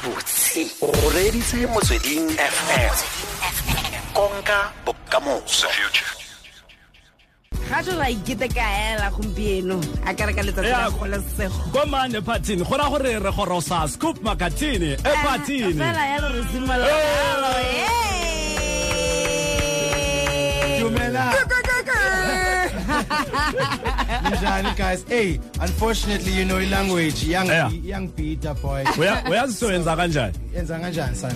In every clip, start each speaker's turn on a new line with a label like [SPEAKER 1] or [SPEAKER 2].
[SPEAKER 1] ke o reditse motsweding fm konka bokamoso
[SPEAKER 2] ga tso ba ikete ka ela gompieno a ka re ka letsatsi la
[SPEAKER 3] Ya.
[SPEAKER 2] kgololesego
[SPEAKER 3] komane epatini go raya gore re gorosa scoop makatini epatini
[SPEAKER 2] fela yalo re simolola
[SPEAKER 3] Ela.
[SPEAKER 2] Hey.
[SPEAKER 4] Dumela. Njani guys? Hey, unfortunately you know language young
[SPEAKER 3] Yeah.
[SPEAKER 4] young Peter boy.
[SPEAKER 3] Uya- uyazi soyenza kanjani
[SPEAKER 4] Yenza kanjani son?
[SPEAKER 2] o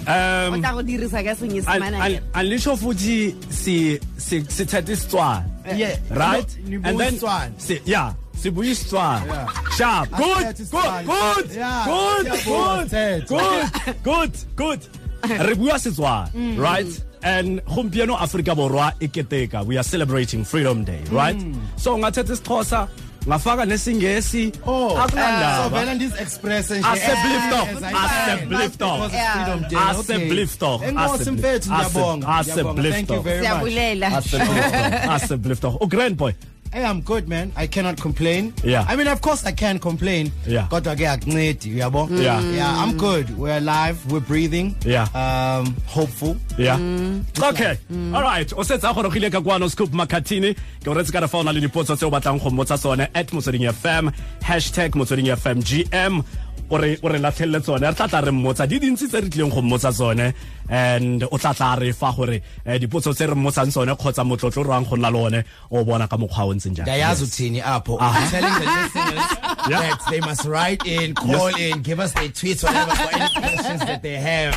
[SPEAKER 3] um
[SPEAKER 2] tla go dirisa ka senyesemana
[SPEAKER 3] and- and-
[SPEAKER 2] yena.
[SPEAKER 3] anlisho futhi si- si- sithethe isitswana
[SPEAKER 4] Yeah.
[SPEAKER 3] right
[SPEAKER 4] No, nibuya
[SPEAKER 3] and then
[SPEAKER 4] isitswana.
[SPEAKER 3] si- yeah sibuya isitswana
[SPEAKER 4] Yeah.
[SPEAKER 3] sharp good
[SPEAKER 4] Asithethe
[SPEAKER 3] good
[SPEAKER 4] isitswana.
[SPEAKER 3] good
[SPEAKER 4] Yeah,
[SPEAKER 3] good
[SPEAKER 4] siyabuya,
[SPEAKER 3] good good good good re bua setswana
[SPEAKER 4] Mm.
[SPEAKER 3] right and gompieno aforika borwa e keteka we are celebrating freedom day
[SPEAKER 4] Mm.
[SPEAKER 3] right so ngathetha isixhosa ngafaka nesingesi
[SPEAKER 4] Oh, so
[SPEAKER 3] akunandaba
[SPEAKER 4] vele ndiz express nje.
[SPEAKER 3] Assembled up.
[SPEAKER 4] As I am.
[SPEAKER 3] Assembled up.
[SPEAKER 4] Because it's freedom day, okay.
[SPEAKER 3] Assembled up.
[SPEAKER 4] Enkosi
[SPEAKER 3] Assembled-
[SPEAKER 4] mfethu ndiyabonga.
[SPEAKER 3] Assembled
[SPEAKER 4] Ndiyabonga. Thank you
[SPEAKER 3] up.
[SPEAKER 4] very much.
[SPEAKER 2] siyabulela
[SPEAKER 3] asebliftog ugrand Oh, boy
[SPEAKER 4] Hey, I'm good man. I cannot complain.
[SPEAKER 3] Yeah.
[SPEAKER 4] I mean of course I can complain.
[SPEAKER 3] Yeah.
[SPEAKER 4] Kodwa ke akuncedi uyabo.
[SPEAKER 3] Yeah.
[SPEAKER 4] Yeah, I'm good. We're alive, we're breathing.
[SPEAKER 3] Yeah.
[SPEAKER 4] Um hopeful.
[SPEAKER 3] yeah Mm. okay all right o setse a gorogile ka kwano scoop makatini ke o retse ka re fa o na le dipotso tse o batlang go mmotsa tsone at motsweding fm hashtag motsweding fm gm o re o re latlhelele tsone re tla tla re mmotsa di dintsi tse re tlileng go mmotsa tsone and o tla tla re fa gore eh, dipotso tse re mmotsang tsone kgotsa motlotlo o rwang go nna le one o bona ka mokgwa o ntseng jang
[SPEAKER 4] ndiyayazi uthini apho
[SPEAKER 3] Ah.
[SPEAKER 4] I'm telling the listeners that they must write in call in give us their tweets whatever for any questions that they have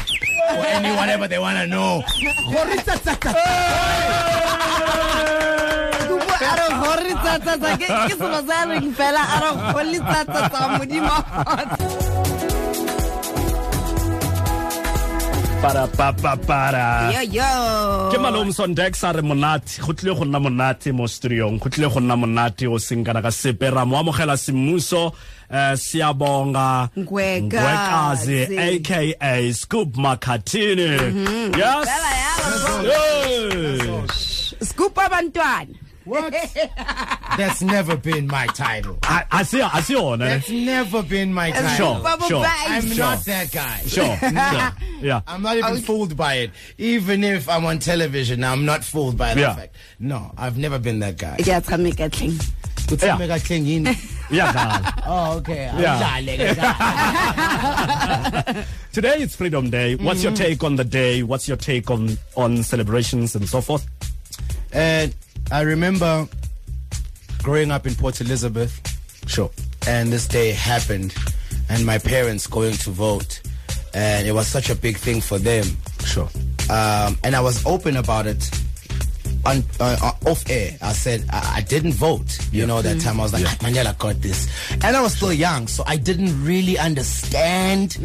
[SPEAKER 4] or any whatever they want to know
[SPEAKER 2] tupo a re gore tsatsatsa ke ke selo se a reng fela a re gole tsatsatsa modimo
[SPEAKER 3] Parapapapara.
[SPEAKER 2] yo yo
[SPEAKER 3] ke malome sondex a re monate go tlile go nna monate mo studiong go tlile go nna monate o seng kana ka sepe ra mo amogela semmuso um siabonga
[SPEAKER 2] Ngwekazi.
[SPEAKER 3] aka scoop makatini yes
[SPEAKER 2] Fela yalo.
[SPEAKER 3] Hey.
[SPEAKER 2] scoop abantwana
[SPEAKER 4] what that's never been my title
[SPEAKER 3] A- a se- a se yone ne?
[SPEAKER 4] that's never been my
[SPEAKER 3] Sure,
[SPEAKER 2] Ba
[SPEAKER 4] title
[SPEAKER 3] sure.
[SPEAKER 2] bobai.
[SPEAKER 4] I'm not that guy
[SPEAKER 3] sure sure. yeah
[SPEAKER 4] I'm not even fooled by it even if I'm on television I'm not fooled by that
[SPEAKER 3] Yeah.
[SPEAKER 4] fact no I've never been that guy
[SPEAKER 2] ke a tshameka tlheng
[SPEAKER 4] Uthembe kahlengini.
[SPEAKER 3] yeah
[SPEAKER 4] oh okay
[SPEAKER 3] Yeah.
[SPEAKER 4] Awudlale ke.
[SPEAKER 3] today it's freedom day what's your take on the day what's your take on on celebrations and so forth
[SPEAKER 4] And I remember growing up in Port Elizabeth,
[SPEAKER 3] sure
[SPEAKER 4] and this day happened, and my parents going to vote, and it was such a big thing for them.
[SPEAKER 3] sure
[SPEAKER 4] Um, and I was open about it on uh, uh, off air. I said I, I didn't vote. You know that time I was like, "Ah, Mandela got this, and I was still young, so I didn't really understand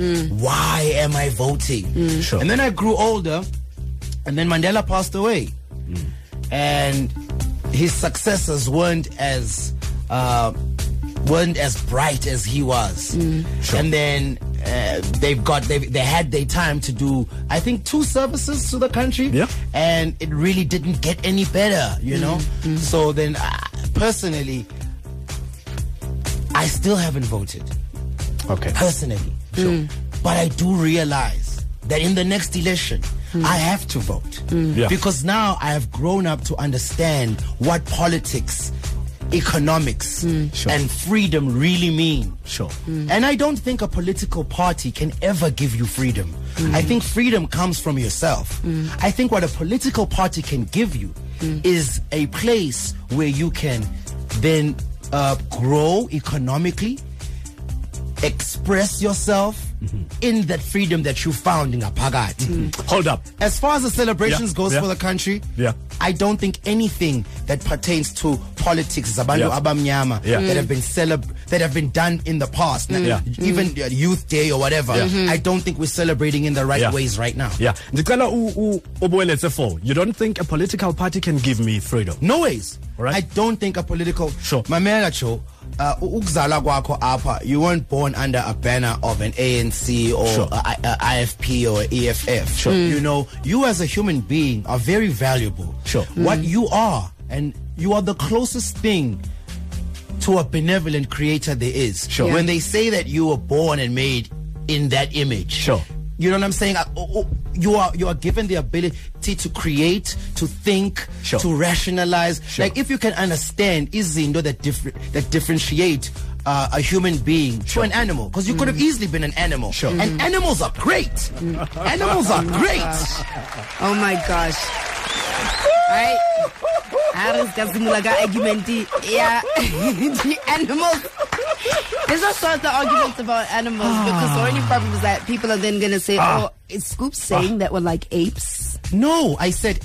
[SPEAKER 4] why am I voting.
[SPEAKER 3] Sure.
[SPEAKER 4] And then I grew older, and then Mandela passed away and his successors weren't as uh, weren't as bright as he was. And then uh, they've got they they had their time to do I think two services to the country.
[SPEAKER 3] Yeah.
[SPEAKER 4] and it really didn't get any better, you know. So then, uh, personally, I still haven't voted
[SPEAKER 3] okay
[SPEAKER 4] personally. Mm. But I do realize that in the next election, I have to vote.
[SPEAKER 3] Mm. Yeah.
[SPEAKER 4] Because now I have grown up to understand what politics, economics,
[SPEAKER 3] Mm. Sure.
[SPEAKER 4] and freedom really mean. Mm.
[SPEAKER 3] Sure. Mm.
[SPEAKER 4] And I don't think a political party can ever give you freedom.
[SPEAKER 3] Mm.
[SPEAKER 4] I think freedom comes from yourself. I think what a political party can give you
[SPEAKER 3] Mm.
[SPEAKER 4] is a place where you can then uh, grow economically, express yourself
[SPEAKER 3] Mm-hmm.
[SPEAKER 4] in that freedom that you found in Apagati.
[SPEAKER 3] hold up
[SPEAKER 4] As far as the celebrations
[SPEAKER 3] Mm-hmm. Yeah,
[SPEAKER 4] goes
[SPEAKER 3] yeah.
[SPEAKER 4] for the country,
[SPEAKER 3] Yeah.
[SPEAKER 4] I don't think anything that pertains to politics, Zabandu
[SPEAKER 3] Yeah.
[SPEAKER 4] Abamnyama,
[SPEAKER 3] Yeah. Mm.
[SPEAKER 4] that have been celeb- that have been done in the past, na-
[SPEAKER 3] Yeah. Mm.
[SPEAKER 4] even uh, Youth Day or whatever.
[SPEAKER 3] Yeah. Mhm.
[SPEAKER 4] I don't think we're celebrating in the right
[SPEAKER 3] Yeah.
[SPEAKER 4] ways right now.
[SPEAKER 3] Yeah. Ndicela u- u- ubueletse for. You don't think a political party can give me freedom?
[SPEAKER 4] No ways.
[SPEAKER 3] All right.
[SPEAKER 4] I don't think a political.
[SPEAKER 3] Sure.
[SPEAKER 4] My man, Cho, uh, u- ukuzala kwakho apha, you weren't born under a banner of an ANC or
[SPEAKER 3] Sure.
[SPEAKER 4] a, I- a IFP or EFF. Sure. You know, you as a human being are very valuable.
[SPEAKER 3] Sure.
[SPEAKER 4] What you are, and you are the closest thing to a benevolent creator there is.
[SPEAKER 3] Sure.
[SPEAKER 4] When they say that you were born and made in that image.
[SPEAKER 3] Sure.
[SPEAKER 4] You know what I'm saying? Uh, oh, oh, You are you are given the ability to create, to think,
[SPEAKER 3] Sure.
[SPEAKER 4] to rationalize.
[SPEAKER 3] Sure.
[SPEAKER 4] Like if you can understand izinto that differ, that differentiate uh, a human being to an animal, because you could have easily been an animal.
[SPEAKER 3] Mm. Sure. Mm.
[SPEAKER 4] And animals are great. Animals are great.
[SPEAKER 2] Oh my gosh. Alright. A re ska simola ka argument ya di-animals. There's all sorts of arguments about animals because the only problem is that people are then going to say, oh, is Scoop saying that we're like apes?
[SPEAKER 4] No, I said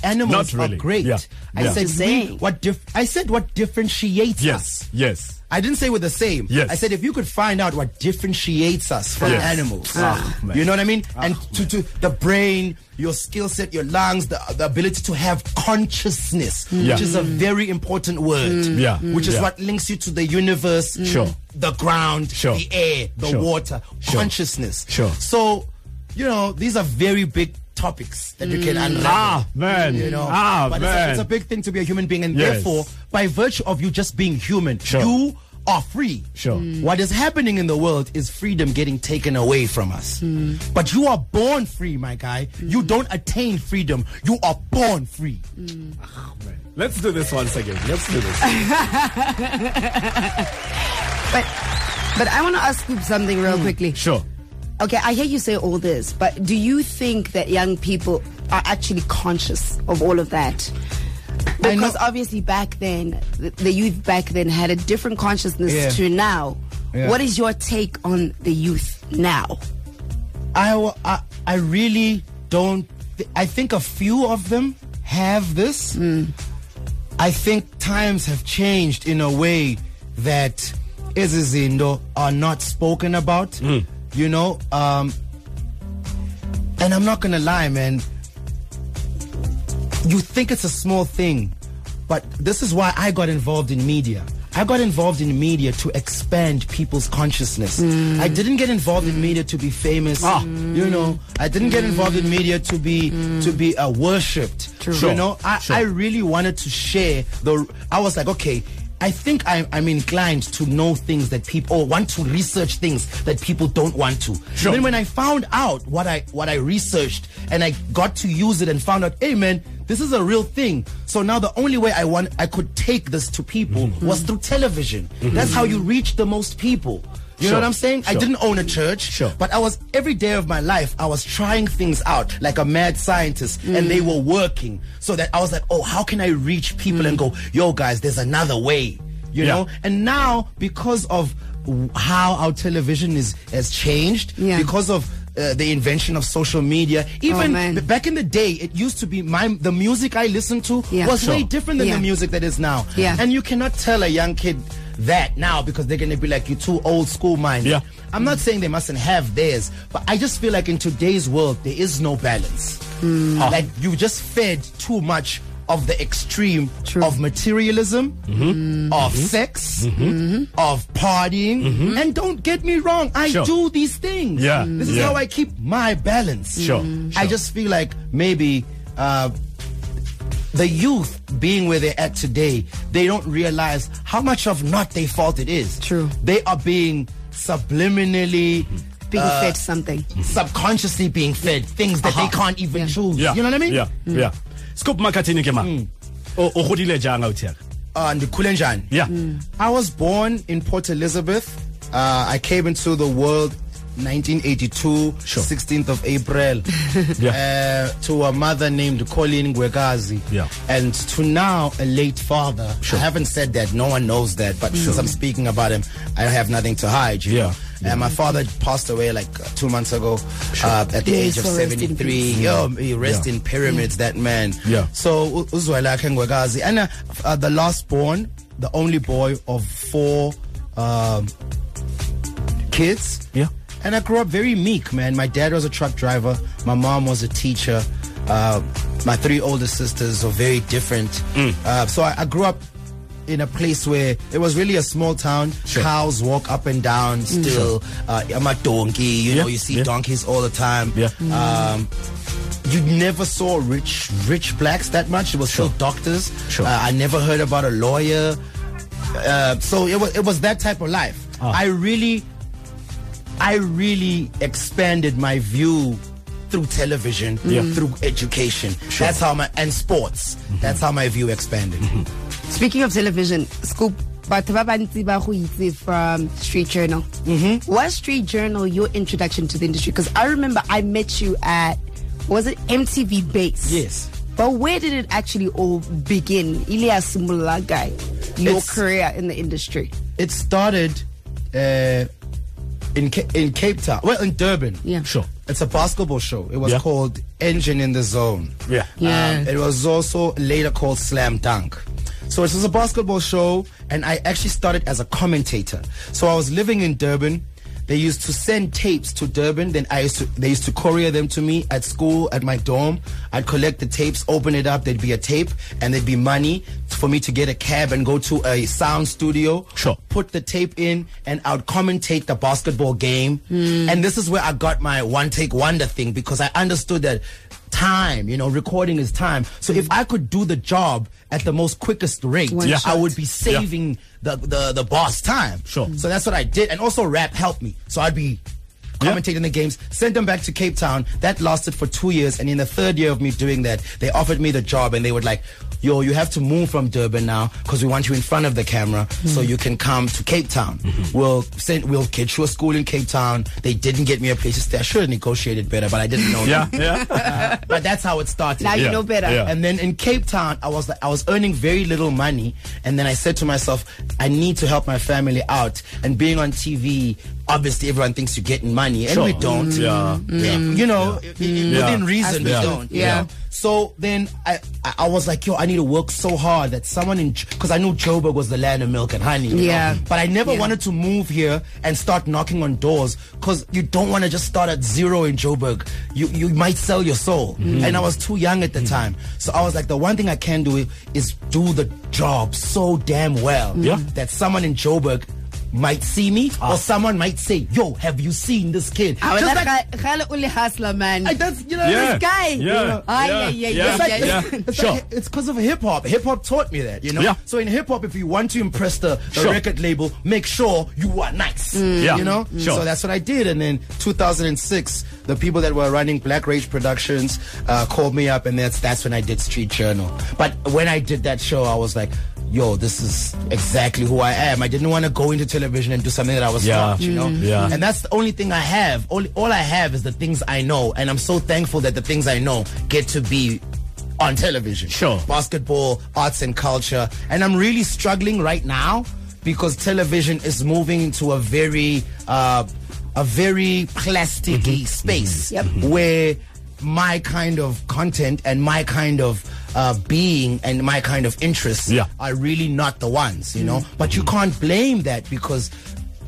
[SPEAKER 3] Not
[SPEAKER 4] animals
[SPEAKER 3] really.
[SPEAKER 4] are great.
[SPEAKER 3] Yeah.
[SPEAKER 4] I
[SPEAKER 3] Yeah.
[SPEAKER 4] said
[SPEAKER 2] Just
[SPEAKER 4] we-
[SPEAKER 2] saying.
[SPEAKER 4] what dif- I said what differentiates
[SPEAKER 3] Yes,
[SPEAKER 4] us.
[SPEAKER 3] yes.
[SPEAKER 4] I didn't say we're the same.
[SPEAKER 3] Yes.
[SPEAKER 4] I said if you could find out what differentiates us from
[SPEAKER 3] Yes.
[SPEAKER 4] animals.
[SPEAKER 3] Ah, man.
[SPEAKER 4] you know what I mean? and to, to the brain, your skill set, your lungs, the, the ability to have consciousness,
[SPEAKER 3] Hmm. Yeah. Hmm.
[SPEAKER 4] which is a very important word.
[SPEAKER 3] Yeah.
[SPEAKER 4] Which is
[SPEAKER 3] Yeah.
[SPEAKER 4] what links you to the universe,
[SPEAKER 3] Sure.
[SPEAKER 4] the ground,
[SPEAKER 3] Sure.
[SPEAKER 4] the air, the
[SPEAKER 3] Sure.
[SPEAKER 4] water, consciousness.
[SPEAKER 3] Sure.
[SPEAKER 4] So, you know, these are very big topics that you can unravel
[SPEAKER 3] Ah, man.
[SPEAKER 4] you know.
[SPEAKER 3] Ah,
[SPEAKER 4] but it's a,
[SPEAKER 3] man.
[SPEAKER 4] it's a big thing to be a human being, and
[SPEAKER 3] Yes.
[SPEAKER 4] therefore, by virtue of you just being human,
[SPEAKER 3] Sure.
[SPEAKER 4] you are free.
[SPEAKER 3] Sure. Mm.
[SPEAKER 4] What is happening in the world is freedom getting taken away from us.
[SPEAKER 3] Mm.
[SPEAKER 4] But you are born free, my guy. You don't attain freedom. You are born free.
[SPEAKER 3] Mm. Let's do this once again. Let's do this.
[SPEAKER 2] But, but I want to ask Scoop something real quickly.
[SPEAKER 3] sure.
[SPEAKER 2] Okay, I hear you say all this, but do you think that young people are actually conscious of all of that?
[SPEAKER 4] I know-
[SPEAKER 2] Because obviously back then, th- the youth back then had a different consciousness
[SPEAKER 4] Yeah.
[SPEAKER 2] to now.
[SPEAKER 4] Yeah.
[SPEAKER 2] What is your take on the youth now?
[SPEAKER 4] I, wa- I, I really don't. Th- I think a few of them have this. I think times have changed in a way that izizindo are not spoken about.
[SPEAKER 3] Hmm.
[SPEAKER 4] You know, um, and I'm not gonna lie, man. You think it's a small thing, but this is why I got involved in media. I got involved in media to expand people's consciousness. I didn't get involved in media to be famous.
[SPEAKER 3] Ah.
[SPEAKER 4] You know, I didn't get involved in media to be to be uh, worshipped.
[SPEAKER 3] Sure.
[SPEAKER 4] You know, I,
[SPEAKER 3] Sure.
[SPEAKER 4] I really wanted to share the. I was like, okay. I think I'm, I'm inclined to know things that people or want to research things that people don't want to.
[SPEAKER 3] Sure.
[SPEAKER 4] Then when I found out what I what I researched and I got to use it and found out, hey man, this is a real thing. So now the only way I want I could take this to people
[SPEAKER 3] Mm-hmm.
[SPEAKER 4] was through television. That's how you reach the most people. You
[SPEAKER 3] Sure.
[SPEAKER 4] know what I'm saying? I
[SPEAKER 3] Sure.
[SPEAKER 4] didn't own a church,
[SPEAKER 3] Sure.
[SPEAKER 4] but I was every day of my life I was trying things out like a mad scientist, and they were working. So that I was like, oh, how can I reach people and go, yo guys, there's another way. You
[SPEAKER 3] Yeah.
[SPEAKER 4] know, and now because of w- how our television is has changed,
[SPEAKER 2] Yeah.
[SPEAKER 4] because of uh, the invention of social media. Even
[SPEAKER 2] Oh, man.
[SPEAKER 4] b- back in the day, it used to be my the music I listened to
[SPEAKER 2] Yeah.
[SPEAKER 4] was way
[SPEAKER 3] Sure.
[SPEAKER 4] different than
[SPEAKER 2] Yeah.
[SPEAKER 4] the music that is now.
[SPEAKER 2] Yeah.
[SPEAKER 4] And you cannot tell a young kid that now because they're going to be like you too old school minded.
[SPEAKER 3] Yeah.
[SPEAKER 4] I'm not saying they mustn't have theirs, but I just feel like in today's world there is no balance.
[SPEAKER 3] Hmm.
[SPEAKER 4] Like you just fed too much of the extreme
[SPEAKER 2] True.
[SPEAKER 4] of materialism,
[SPEAKER 3] Mm-hmm.
[SPEAKER 4] of sex, Mm-hmm. of partying, and don't get me wrong, I
[SPEAKER 3] Mm-hmm. Sure.
[SPEAKER 4] do these things.
[SPEAKER 3] Yeah.
[SPEAKER 4] This is
[SPEAKER 3] Yeah.
[SPEAKER 4] how I keep my balance. Mm.
[SPEAKER 3] Sure.
[SPEAKER 4] I
[SPEAKER 3] Sure.
[SPEAKER 4] just feel like maybe uh, the youth being where they're at today, they don't realize how much of not their fault it is.
[SPEAKER 2] True.
[SPEAKER 4] They are being subliminally,
[SPEAKER 2] Being
[SPEAKER 4] Uh,
[SPEAKER 2] fed something.
[SPEAKER 4] subconsciously being fed things that they can't even choose.
[SPEAKER 3] Yeah.
[SPEAKER 4] You know what I mean? Mm.
[SPEAKER 3] Yeah. Yeah. Scoop Makatini ke mang? O o godile jang out here?
[SPEAKER 4] Uh, Ndikulenjan.
[SPEAKER 3] Yeah.
[SPEAKER 4] I was born in Port Elizabeth. Uh, I came into the world 1982,
[SPEAKER 3] Sure.
[SPEAKER 4] 16th of April,
[SPEAKER 3] Yeah.
[SPEAKER 4] uh, to a mother named Colleen Gwegazi.
[SPEAKER 3] Yeah.
[SPEAKER 4] And to now, a late father.
[SPEAKER 3] Sure. Mm.
[SPEAKER 4] I haven't said that. No one knows that. But since I'm speaking about him, I have nothing to hide. You
[SPEAKER 3] Yeah.
[SPEAKER 4] Know? And my father passed away like uh, two months ago uh, at the
[SPEAKER 2] May
[SPEAKER 4] age
[SPEAKER 2] his
[SPEAKER 4] of
[SPEAKER 2] soul rest in
[SPEAKER 4] 73.
[SPEAKER 2] peace.
[SPEAKER 4] Yo, he rest
[SPEAKER 3] Mm. Yeah.
[SPEAKER 4] in pyramids, that man.
[SPEAKER 3] Yeah.
[SPEAKER 4] So Uzwela Kengwagazi and uh, uh, the last born, the only boy of four um, kids.
[SPEAKER 3] Yeah.
[SPEAKER 4] And I grew up very meek, man. My dad was a truck driver. My mom was a teacher. Uh, my three older sisters were very different.
[SPEAKER 3] Mm.
[SPEAKER 4] Uh, so I, I grew up in a place where it was really a small town.
[SPEAKER 3] Sure. Mm.
[SPEAKER 4] Cows walk up and down still. Uh, I'm a donkey. You
[SPEAKER 3] Yeah,
[SPEAKER 4] know, you see
[SPEAKER 3] yeah.
[SPEAKER 4] donkeys all the time.
[SPEAKER 3] Yeah.
[SPEAKER 4] Um, you never saw rich rich blacks that much. It was still doctors.
[SPEAKER 3] Sure.
[SPEAKER 4] Uh, I never heard about a lawyer. Uh, so it was it was that type of life.
[SPEAKER 3] Ah.
[SPEAKER 4] I really, I really expanded my view through television, Mm-hmm.
[SPEAKER 3] Yeah. Mm-hmm. Mhm.
[SPEAKER 4] through education. That's how my and sports. That's how my view expanded.
[SPEAKER 3] Mm-hmm.
[SPEAKER 2] Speaking of television, Scoop, batho ba bantsi ba go itse from Street Journal. Mm-hmm. Was Street Journal your introduction to the industry? Because I remember I met you at, was it MTV Base?
[SPEAKER 4] Yes.
[SPEAKER 2] But where did it actually all begin? Ilyas Mulagai, your
[SPEAKER 4] It's-
[SPEAKER 2] career in the industry.
[SPEAKER 4] It started uh, in Ca- in Cape Town. Well, in Durban.
[SPEAKER 2] Yeah.
[SPEAKER 3] Sure.
[SPEAKER 4] It's a basketball show. It was
[SPEAKER 3] Yeah.
[SPEAKER 4] called Engine in the Zone.
[SPEAKER 3] Yeah.
[SPEAKER 2] Yeah.
[SPEAKER 4] it was also later called Slam Dunk. So it was a basketball show, and I actually started as a commentator. So I was living in Durban. They used to send tapes to Durban. Then I used to, they used to courier them to me at school, at my dorm. I'd collect the tapes, open it up. There'd be a tape, and there'd be money for me to get a cab and go to a sound studio.
[SPEAKER 3] Sure.
[SPEAKER 4] Put the tape in, and I would commentate the basketball game.
[SPEAKER 2] Hmm.
[SPEAKER 4] And this is where I got my one take wonder thing because I understood that time, you know, recording is time. So if I could do the job at the most quickest rate,
[SPEAKER 2] One Yeah.
[SPEAKER 4] I
[SPEAKER 2] shot.
[SPEAKER 4] would be saving the, the the boss time.
[SPEAKER 3] Sure. Mm.
[SPEAKER 4] So that's what I did, and also rap helped me. So I'd be commentating the games, sent them back to Cape Town. That lasted for two years, and in the third year of me doing that, they offered me the job, and they would like, "Yo, you have to move from Durban now because we want you in front of the camera, so
[SPEAKER 3] Mm.
[SPEAKER 4] you can come to Cape Town.
[SPEAKER 3] Mm-hmm.
[SPEAKER 4] We'll send, we'll get you a school in Cape Town." They didn't get me a place to stay. I should have negotiated better, but I didn't know.
[SPEAKER 3] Yeah.
[SPEAKER 4] that.
[SPEAKER 3] Yeah.
[SPEAKER 4] But that's how it started.
[SPEAKER 2] Now you
[SPEAKER 3] Yeah,
[SPEAKER 2] know better.
[SPEAKER 3] yeah.
[SPEAKER 4] And then in Cape Town, I was like, I was earning very little money, and then I said to myself, I need to help my family out. And being on TV, obviously everyone thinks you're getting money, and we
[SPEAKER 3] Sure.
[SPEAKER 4] don't. Mm.
[SPEAKER 3] Yeah.
[SPEAKER 4] Yeah. You know, i- i- within
[SPEAKER 3] Yeah.
[SPEAKER 4] reason, we
[SPEAKER 3] Yeah.
[SPEAKER 4] don't. you
[SPEAKER 2] Yeah.
[SPEAKER 4] know? So then I, I I was like, yo, I need to work so hard that someone in because I knew Joburg was the land of milk and honey. you
[SPEAKER 2] Yeah.
[SPEAKER 4] know? But I never
[SPEAKER 2] Yeah.
[SPEAKER 4] wanted to move here and start knocking on doors because you don't want to just start at zero in Joburg. You you might sell your soul. And I was too young at the time. So I was like, the one thing I can do is do the job so damn well
[SPEAKER 3] Yeah.
[SPEAKER 4] that someone in Joburg might see me or someone might say, yo, have you seen this kid?
[SPEAKER 2] I was
[SPEAKER 4] Just
[SPEAKER 2] like,
[SPEAKER 4] like-
[SPEAKER 2] Khala Uli Hustler, man.
[SPEAKER 4] like, that's, you know,
[SPEAKER 3] Yeah.
[SPEAKER 4] it's-
[SPEAKER 2] guy.
[SPEAKER 3] Yeah.
[SPEAKER 2] Ay,
[SPEAKER 3] Yeah.
[SPEAKER 2] ay, ay,
[SPEAKER 3] Yeah.
[SPEAKER 2] ay, ay.
[SPEAKER 3] Yeah.
[SPEAKER 4] it's
[SPEAKER 3] Sure.
[SPEAKER 4] like- it's because of hip hop. Hip hop taught me that, you know.
[SPEAKER 3] Yeah.
[SPEAKER 4] So in hip hop, if you want to impress the, the
[SPEAKER 3] Sure. Mm.
[SPEAKER 4] record label, make sure you are nice.
[SPEAKER 3] Yeah.
[SPEAKER 4] You know.
[SPEAKER 3] Sure.
[SPEAKER 4] So that's what I did. And then 2006, the people that were running Black Rage Productions uh, called me up, and that's that's when I did Street Journal. But when I did that show, I was like. Yo, this is exactly who I am. I didn't want to go into television and do something that I was
[SPEAKER 3] Yeah. Mm.
[SPEAKER 4] taught, you know.
[SPEAKER 3] Yeah.
[SPEAKER 4] And that's the only thing I have. All, all I have is the things I know. And I'm so thankful that the things I know get to be on television.
[SPEAKER 3] Sure.
[SPEAKER 4] Basketball, arts and culture. And I'm really struggling right now because television is moving into a very, uh, a very plastic
[SPEAKER 3] Mm-hmm.
[SPEAKER 4] space
[SPEAKER 2] Yep.
[SPEAKER 4] where my kind of content and my kind of uh, being and my kind of interests
[SPEAKER 3] Yeah.
[SPEAKER 4] are really not the ones, you know. But you can't blame that because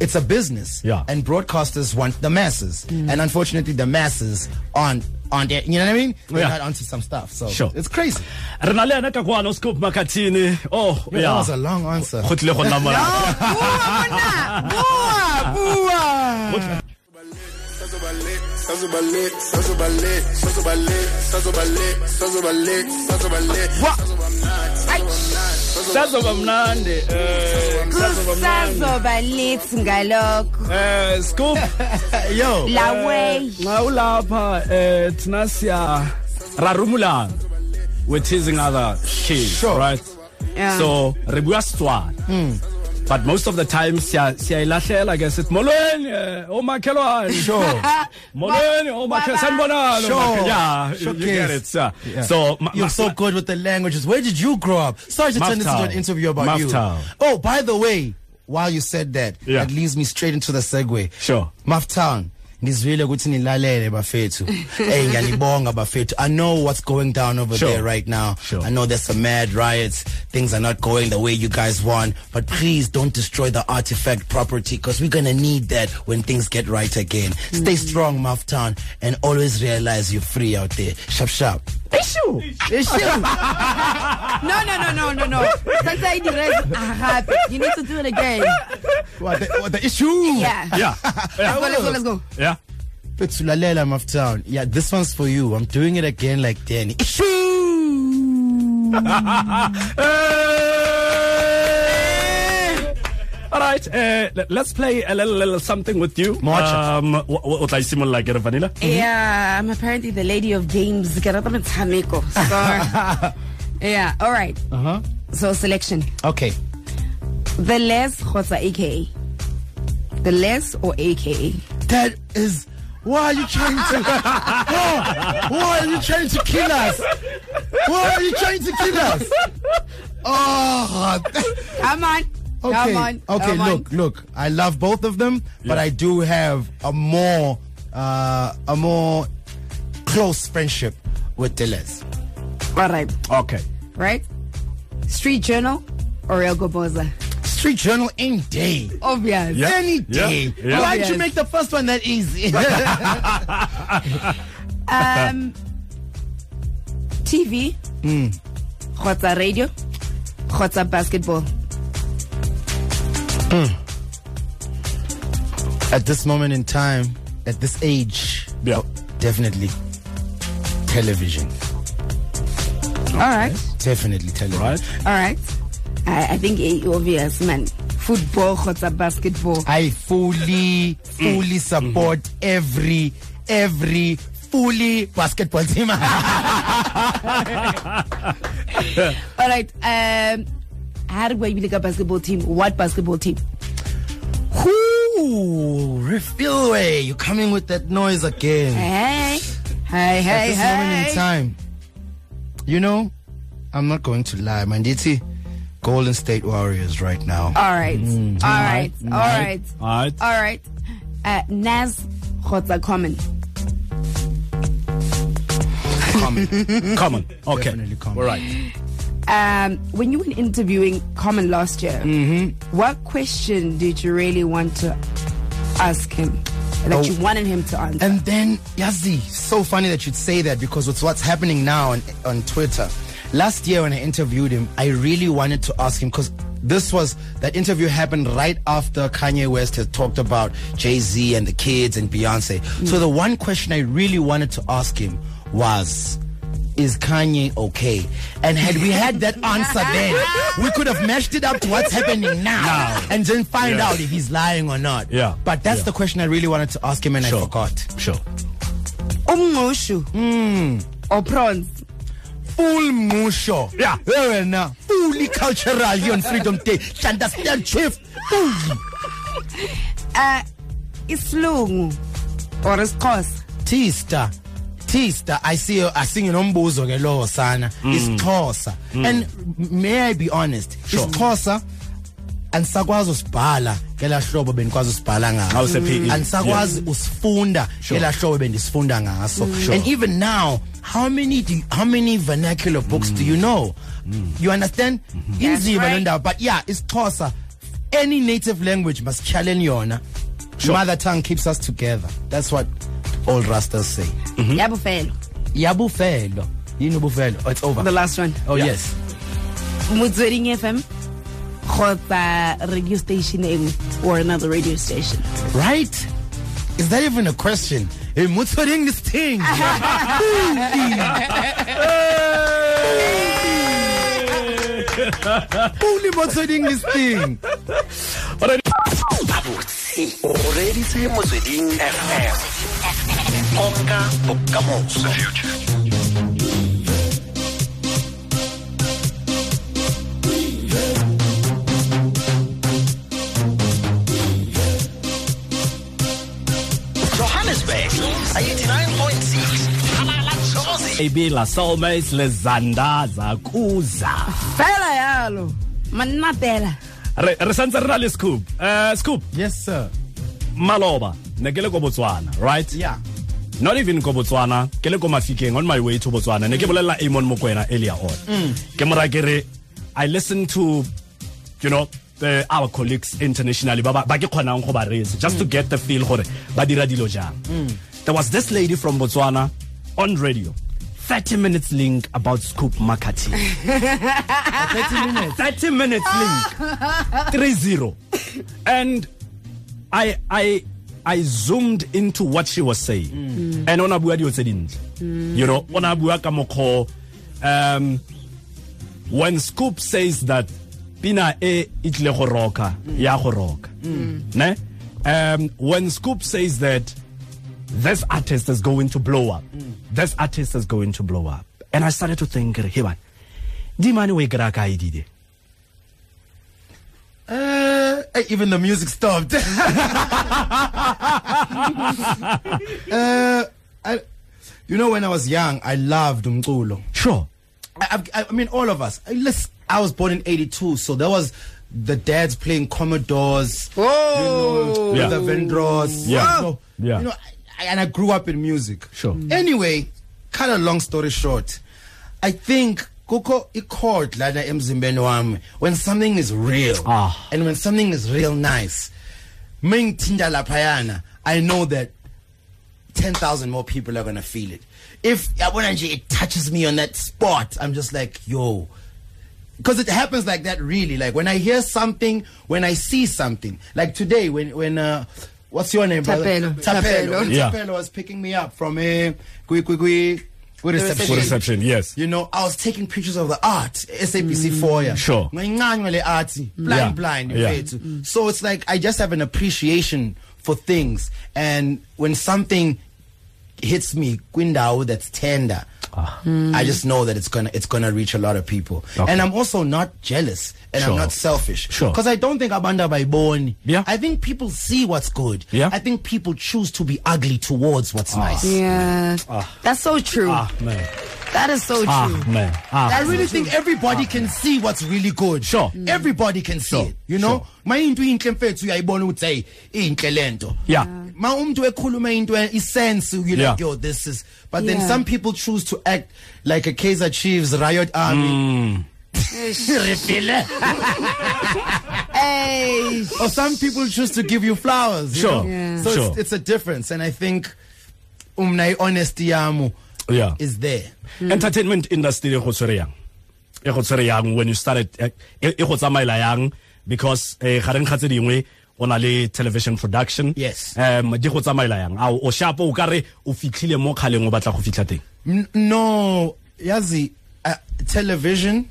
[SPEAKER 4] it's a business,
[SPEAKER 3] Yeah.
[SPEAKER 4] And broadcasters want the masses,
[SPEAKER 3] Mm.
[SPEAKER 4] and unfortunately, the masses aren't aren't it. You know what I mean? They're
[SPEAKER 3] Yeah.
[SPEAKER 4] not onto some stuff, so
[SPEAKER 3] Sure.
[SPEAKER 4] it's crazy.
[SPEAKER 3] Re na le ena ka kwano Scoop Makatini. Oh,
[SPEAKER 4] Yo, That
[SPEAKER 3] yeah.
[SPEAKER 4] was a long answer.
[SPEAKER 3] Go tlile go nna mona.
[SPEAKER 2] Oh, Bua, monna, bua, bua.
[SPEAKER 5] Sazo ballet, sazo ballet, sazo ballet, sazo ballet, sazo ballet, sazo ballet, sazo ballet. Sazo bamnandi, sazo
[SPEAKER 3] Sazoba mnandi. eh,
[SPEAKER 5] bamnandi, sazo
[SPEAKER 3] sazoba mnandi.
[SPEAKER 2] kusazoba lithi ngalokho
[SPEAKER 3] Eh, Scoop.
[SPEAKER 4] Yo,
[SPEAKER 2] Uh, laway
[SPEAKER 3] Nga ulapha eh thina siya rarumulana. We're teasing other kids,
[SPEAKER 4] Sure. Hmm.
[SPEAKER 3] right?
[SPEAKER 2] Yeah.
[SPEAKER 3] So re bua Setswana. But most of the time siya siya ilahlela ke sithi molweni eh, omakhelwane.
[SPEAKER 4] sure.
[SPEAKER 3] Molweni omakhelwane sanibonalo.
[SPEAKER 4] Sure.
[SPEAKER 3] omakhe-" Yeah, you,
[SPEAKER 4] Sure
[SPEAKER 3] you get it.
[SPEAKER 4] kids.
[SPEAKER 3] Yeah.
[SPEAKER 4] Yeah.
[SPEAKER 3] So ma-
[SPEAKER 4] you're
[SPEAKER 3] ma-
[SPEAKER 4] so good with the languages. Where did you grow up? Sorry to turn this into an
[SPEAKER 3] Maftown.
[SPEAKER 4] interview about
[SPEAKER 3] Maftown.
[SPEAKER 4] you. Oh, by the way, while you said that,
[SPEAKER 3] Yeah.
[SPEAKER 4] that leads me straight into the segue.
[SPEAKER 3] Sure.
[SPEAKER 4] Maftown. Nizwile ukuthi nilalele bafethu. Hey ngiyanibonga bafethu. I know what's going down over
[SPEAKER 3] Sure.
[SPEAKER 4] there right now.
[SPEAKER 3] Sure.
[SPEAKER 4] I know there's some mad riots. Things are not going the way you guys want, but please don't destroy the artifact property cuz we're going to need that when things get right again. Stay
[SPEAKER 3] Mm.
[SPEAKER 4] strong Maftown and always realize you're free out there. Sharp sharp.
[SPEAKER 2] no no no no no no since i did happy you need to do it again
[SPEAKER 4] What the, what the issue?
[SPEAKER 2] yeah
[SPEAKER 3] Yeah. Yeah.
[SPEAKER 2] let's go let's go
[SPEAKER 3] Yeah.
[SPEAKER 4] Let's lalela Maftown. Yeah, this one's for you. I'm doing it again like Danny. Issue.
[SPEAKER 3] Eh! All right, uh, le- let's play a little, little something with you.
[SPEAKER 4] Mocha.
[SPEAKER 3] Um, o- o o tla simolola ke re vanilla.
[SPEAKER 4] Mm-hmm.
[SPEAKER 2] Yeah, I'm apparently the lady of games. Ke rata metshameko. So, yeah, all right.
[SPEAKER 4] Uh-huh.
[SPEAKER 2] So, selection.
[SPEAKER 4] Okay.
[SPEAKER 2] The less kgotsa AKA. The less or AKA.
[SPEAKER 4] That is. Why are you trying to? Oh, why are you trying to kill us? Why are you trying to kill us? Oh,
[SPEAKER 2] Come on.
[SPEAKER 4] okay.
[SPEAKER 2] Come on.
[SPEAKER 4] Okay,
[SPEAKER 2] come on.
[SPEAKER 4] look, look. I love both of them, but I do have a more, uh, a more close friendship with Deleuze.
[SPEAKER 2] All right.
[SPEAKER 3] Okay.
[SPEAKER 2] Right? Street Journal or El Goboza?
[SPEAKER 4] Street Journal any day.
[SPEAKER 2] Obvious.
[SPEAKER 3] Yeah.
[SPEAKER 4] Any
[SPEAKER 3] yeah,
[SPEAKER 4] day.
[SPEAKER 3] yeah.
[SPEAKER 4] Why'd
[SPEAKER 2] Yes.
[SPEAKER 4] you make the first one that easy?
[SPEAKER 2] Um, TV.
[SPEAKER 4] Hmm.
[SPEAKER 2] Kgotsa radio. Kgotsa basketball.
[SPEAKER 4] at this moment in time, at this age,
[SPEAKER 3] Yeah.
[SPEAKER 4] definitely television.
[SPEAKER 2] All right.
[SPEAKER 4] Definitely television.
[SPEAKER 3] Right.
[SPEAKER 2] All right. I, I think it's obvious, man. Football, kgotsa basketball.
[SPEAKER 4] I fully, fully support every, every, fully basketball team.
[SPEAKER 2] All right. Um, how do we like a basketball team? What basketball team?
[SPEAKER 4] Whoo! Refillway, you're coming with that noise again.
[SPEAKER 2] Hey, hey,
[SPEAKER 4] at
[SPEAKER 2] hey,
[SPEAKER 4] this moment in
[SPEAKER 2] hey.
[SPEAKER 4] time, you know, I'm not going to lie, Manditi. Golden State Warriors right now.
[SPEAKER 2] All right.
[SPEAKER 4] Hmm.
[SPEAKER 2] All right. All right.
[SPEAKER 3] All right.
[SPEAKER 2] All right. Uh, Nas kgotsa Common.
[SPEAKER 4] Common.
[SPEAKER 3] Common. Mm. Okay.
[SPEAKER 4] Definitely common.
[SPEAKER 3] All right.
[SPEAKER 2] Um, when you were interviewing Common last year, what question did you really want to ask him that
[SPEAKER 4] Oh.
[SPEAKER 2] you wanted him to answer?
[SPEAKER 4] And then, Yazi, so funny that you'd say that because it's what's happening now on, on Twitter. Last year when I interviewed him, I really wanted to ask him because this was, that interview happened right after Kanye West had talked about Jay Z and the kids and Beyonce.
[SPEAKER 3] Hmm.
[SPEAKER 4] So the one question I really wanted to ask him was, is Kanye okay? And had we had that answer then, we could have meshed it up to what's happening now, and then find
[SPEAKER 3] Yeah.
[SPEAKER 4] out if he's lying or not.
[SPEAKER 3] Yeah.
[SPEAKER 4] But that's
[SPEAKER 3] Yeah.
[SPEAKER 4] the question I really wanted to ask him and I
[SPEAKER 3] Sure.
[SPEAKER 4] forgot.
[SPEAKER 3] Sure.
[SPEAKER 2] Umngqushu or prawns?
[SPEAKER 4] full musho.
[SPEAKER 3] Yeah.
[SPEAKER 4] Wewe na fully cultural here on Freedom Day. You Understand, Chief? Fully.
[SPEAKER 2] Uh, isilungu or isiXhosa?
[SPEAKER 4] Tista. Tista, I see I sing an umbuzo ke lowo sana.
[SPEAKER 3] Mm.
[SPEAKER 4] It's Xhosa. And may I be honest,
[SPEAKER 3] Sure.
[SPEAKER 4] it's Xhosa andisakwazi usibhala ngelaa hlobo bendikwazi usibhala
[SPEAKER 3] How is
[SPEAKER 4] ngaso
[SPEAKER 3] the PE?
[SPEAKER 4] andisakwazi usifunda ngelaa hlobo bendisifunda ngaso and even now how many do how many vernacular books do you know you understand inzima
[SPEAKER 2] right.
[SPEAKER 4] le ndawo but yeah isixhosa any native language masityhaleni yona mother tongue keeps us together that's what all rastas say
[SPEAKER 2] Yabufelo.
[SPEAKER 4] yabufelo yini ubufelo Oh, it's over
[SPEAKER 2] The last one.
[SPEAKER 4] oh
[SPEAKER 3] Yeah.
[SPEAKER 4] yes
[SPEAKER 2] Motsweding FM kgotsa radio station e nngwe or another radio station.
[SPEAKER 4] Right? Is that even a question? Hey, what's hurting this thing? Holy what's hurting this thing?
[SPEAKER 1] gabotse o reditse motsweding fm konka bokamoso Johannesburg 89.6 Halala Jozi
[SPEAKER 3] AB La Soulmates Lezanda Zakuza.
[SPEAKER 2] Fela yalo. Manna pela.
[SPEAKER 3] re re santse re na le scoop uh, scoop
[SPEAKER 4] Yes, sir.
[SPEAKER 3] maloba ne ke le ko botswana right
[SPEAKER 4] Yeah.
[SPEAKER 3] not even ko botswana ke le ko mafikeng on my way to botswana ne ke bolelela amon mokwena earlier on ke mora ke re i listen to you know the, our colleagues internationally ba ba ba ke kgonang go ba raise just to get the feel gore ba dira dilo jang there was this lady from botswana on radio 30 minutes link about scoop marketing
[SPEAKER 4] 30 minutes.
[SPEAKER 3] 30 minutes link 3-0 and i i i zoomed into what she was saying and ona bua dio tse dintle you know ona bua ka mokgwa o, um when scoop says that pina e e tlile go roka ya go roka ne um when scoop says that this artist is going to blow up this artist is going to blow up and i started to think hey man di mane o e kry-a kae dide
[SPEAKER 4] Uh, eh, even the music stopped. uh, I, you know, when I was young, I loved Mkulo.
[SPEAKER 3] sure
[SPEAKER 4] I, I, I mean, all of us. I, listen, I was born in 82, so there was the dads playing Commodores,
[SPEAKER 2] Oh.
[SPEAKER 3] Yeah.
[SPEAKER 4] the Vendros.
[SPEAKER 3] Yeah.
[SPEAKER 4] You know,
[SPEAKER 3] Yeah.
[SPEAKER 4] you know, I, and I grew up in music.
[SPEAKER 3] Sure. Mm.
[SPEAKER 4] Anyway, cut a long story short, I think Koko Ikord Lada Mzimbeni wami, when something is real
[SPEAKER 3] Ah.
[SPEAKER 4] and when something is real nice, Mingtinda Lapayana, I know that 10,000 more people are going to feel it. If Yabonanji, it touches me on that spot, I'm just like, yo. Because it happens like that, really. Like when I hear something, when I see something. Like today, when, when, uh, what's your name, brother?
[SPEAKER 2] Tapelo.
[SPEAKER 4] Tapelo. When
[SPEAKER 3] Tapelo. Yeah.
[SPEAKER 4] Tapelo was picking me up from a, gui, gui, gui, gui
[SPEAKER 3] for
[SPEAKER 4] reception.
[SPEAKER 3] reception yes Mm.
[SPEAKER 4] You know, I was taking pictures of the art, SABC for you.
[SPEAKER 3] Sure.
[SPEAKER 4] Ngayincanywe le art, blind,
[SPEAKER 3] Yeah.
[SPEAKER 4] blind.
[SPEAKER 3] Yeah.
[SPEAKER 4] mfethu. So it's like I just have an appreciation for things, and when something hits me, kwindawo that's tender, I just know that it's gonna it's gonna reach a lot of people.
[SPEAKER 3] Ah. Mm. Okay.
[SPEAKER 4] And I'm also not jealous, and
[SPEAKER 3] Sure.
[SPEAKER 4] I'm not selfish,
[SPEAKER 3] Sure.
[SPEAKER 4] Because I don't think abanda baiboni.
[SPEAKER 3] Yeah.
[SPEAKER 4] I think people see what's good.
[SPEAKER 3] Yeah.
[SPEAKER 4] I think people choose to be ugly towards what's nice.
[SPEAKER 2] Yeah. That's so true.
[SPEAKER 3] ah man
[SPEAKER 2] That is so true.
[SPEAKER 3] ah man ah
[SPEAKER 4] I really think everybody can see what's really good. Mm.
[SPEAKER 3] Sure.
[SPEAKER 4] Everybody can see
[SPEAKER 3] Sure.
[SPEAKER 4] it. You know? Ma into inhle mfethu uyayibona ukuthi hey inhle lento.
[SPEAKER 3] Yeah.
[SPEAKER 4] Ma umuntu ekhuluma into e- isense you
[SPEAKER 3] Yeah.
[SPEAKER 4] like yo this is but then
[SPEAKER 2] Yeah.
[SPEAKER 4] some people choose to act like a Kaiser Chiefs riot army. Refile.
[SPEAKER 2] Hey.
[SPEAKER 4] or some people choose to give you flowers. you
[SPEAKER 3] Mm. Sure.
[SPEAKER 4] know?
[SPEAKER 2] Yeah.
[SPEAKER 4] So
[SPEAKER 3] Sure.
[SPEAKER 4] it's, it's a difference and I think umna honesty yamu
[SPEAKER 3] yeah Mm.
[SPEAKER 4] is there.
[SPEAKER 3] entertainment industry e go tshwere yang e go tshwere yang when you started eh, e e go tsamaela yang because eh gareng ga tse dingwe o na le television production
[SPEAKER 4] Yes.
[SPEAKER 3] um di go tsamaela yang a o shapo o kare o fitlhile mo kgaleng o batla go fitlha teng
[SPEAKER 4] N- no, Yazi, uh, television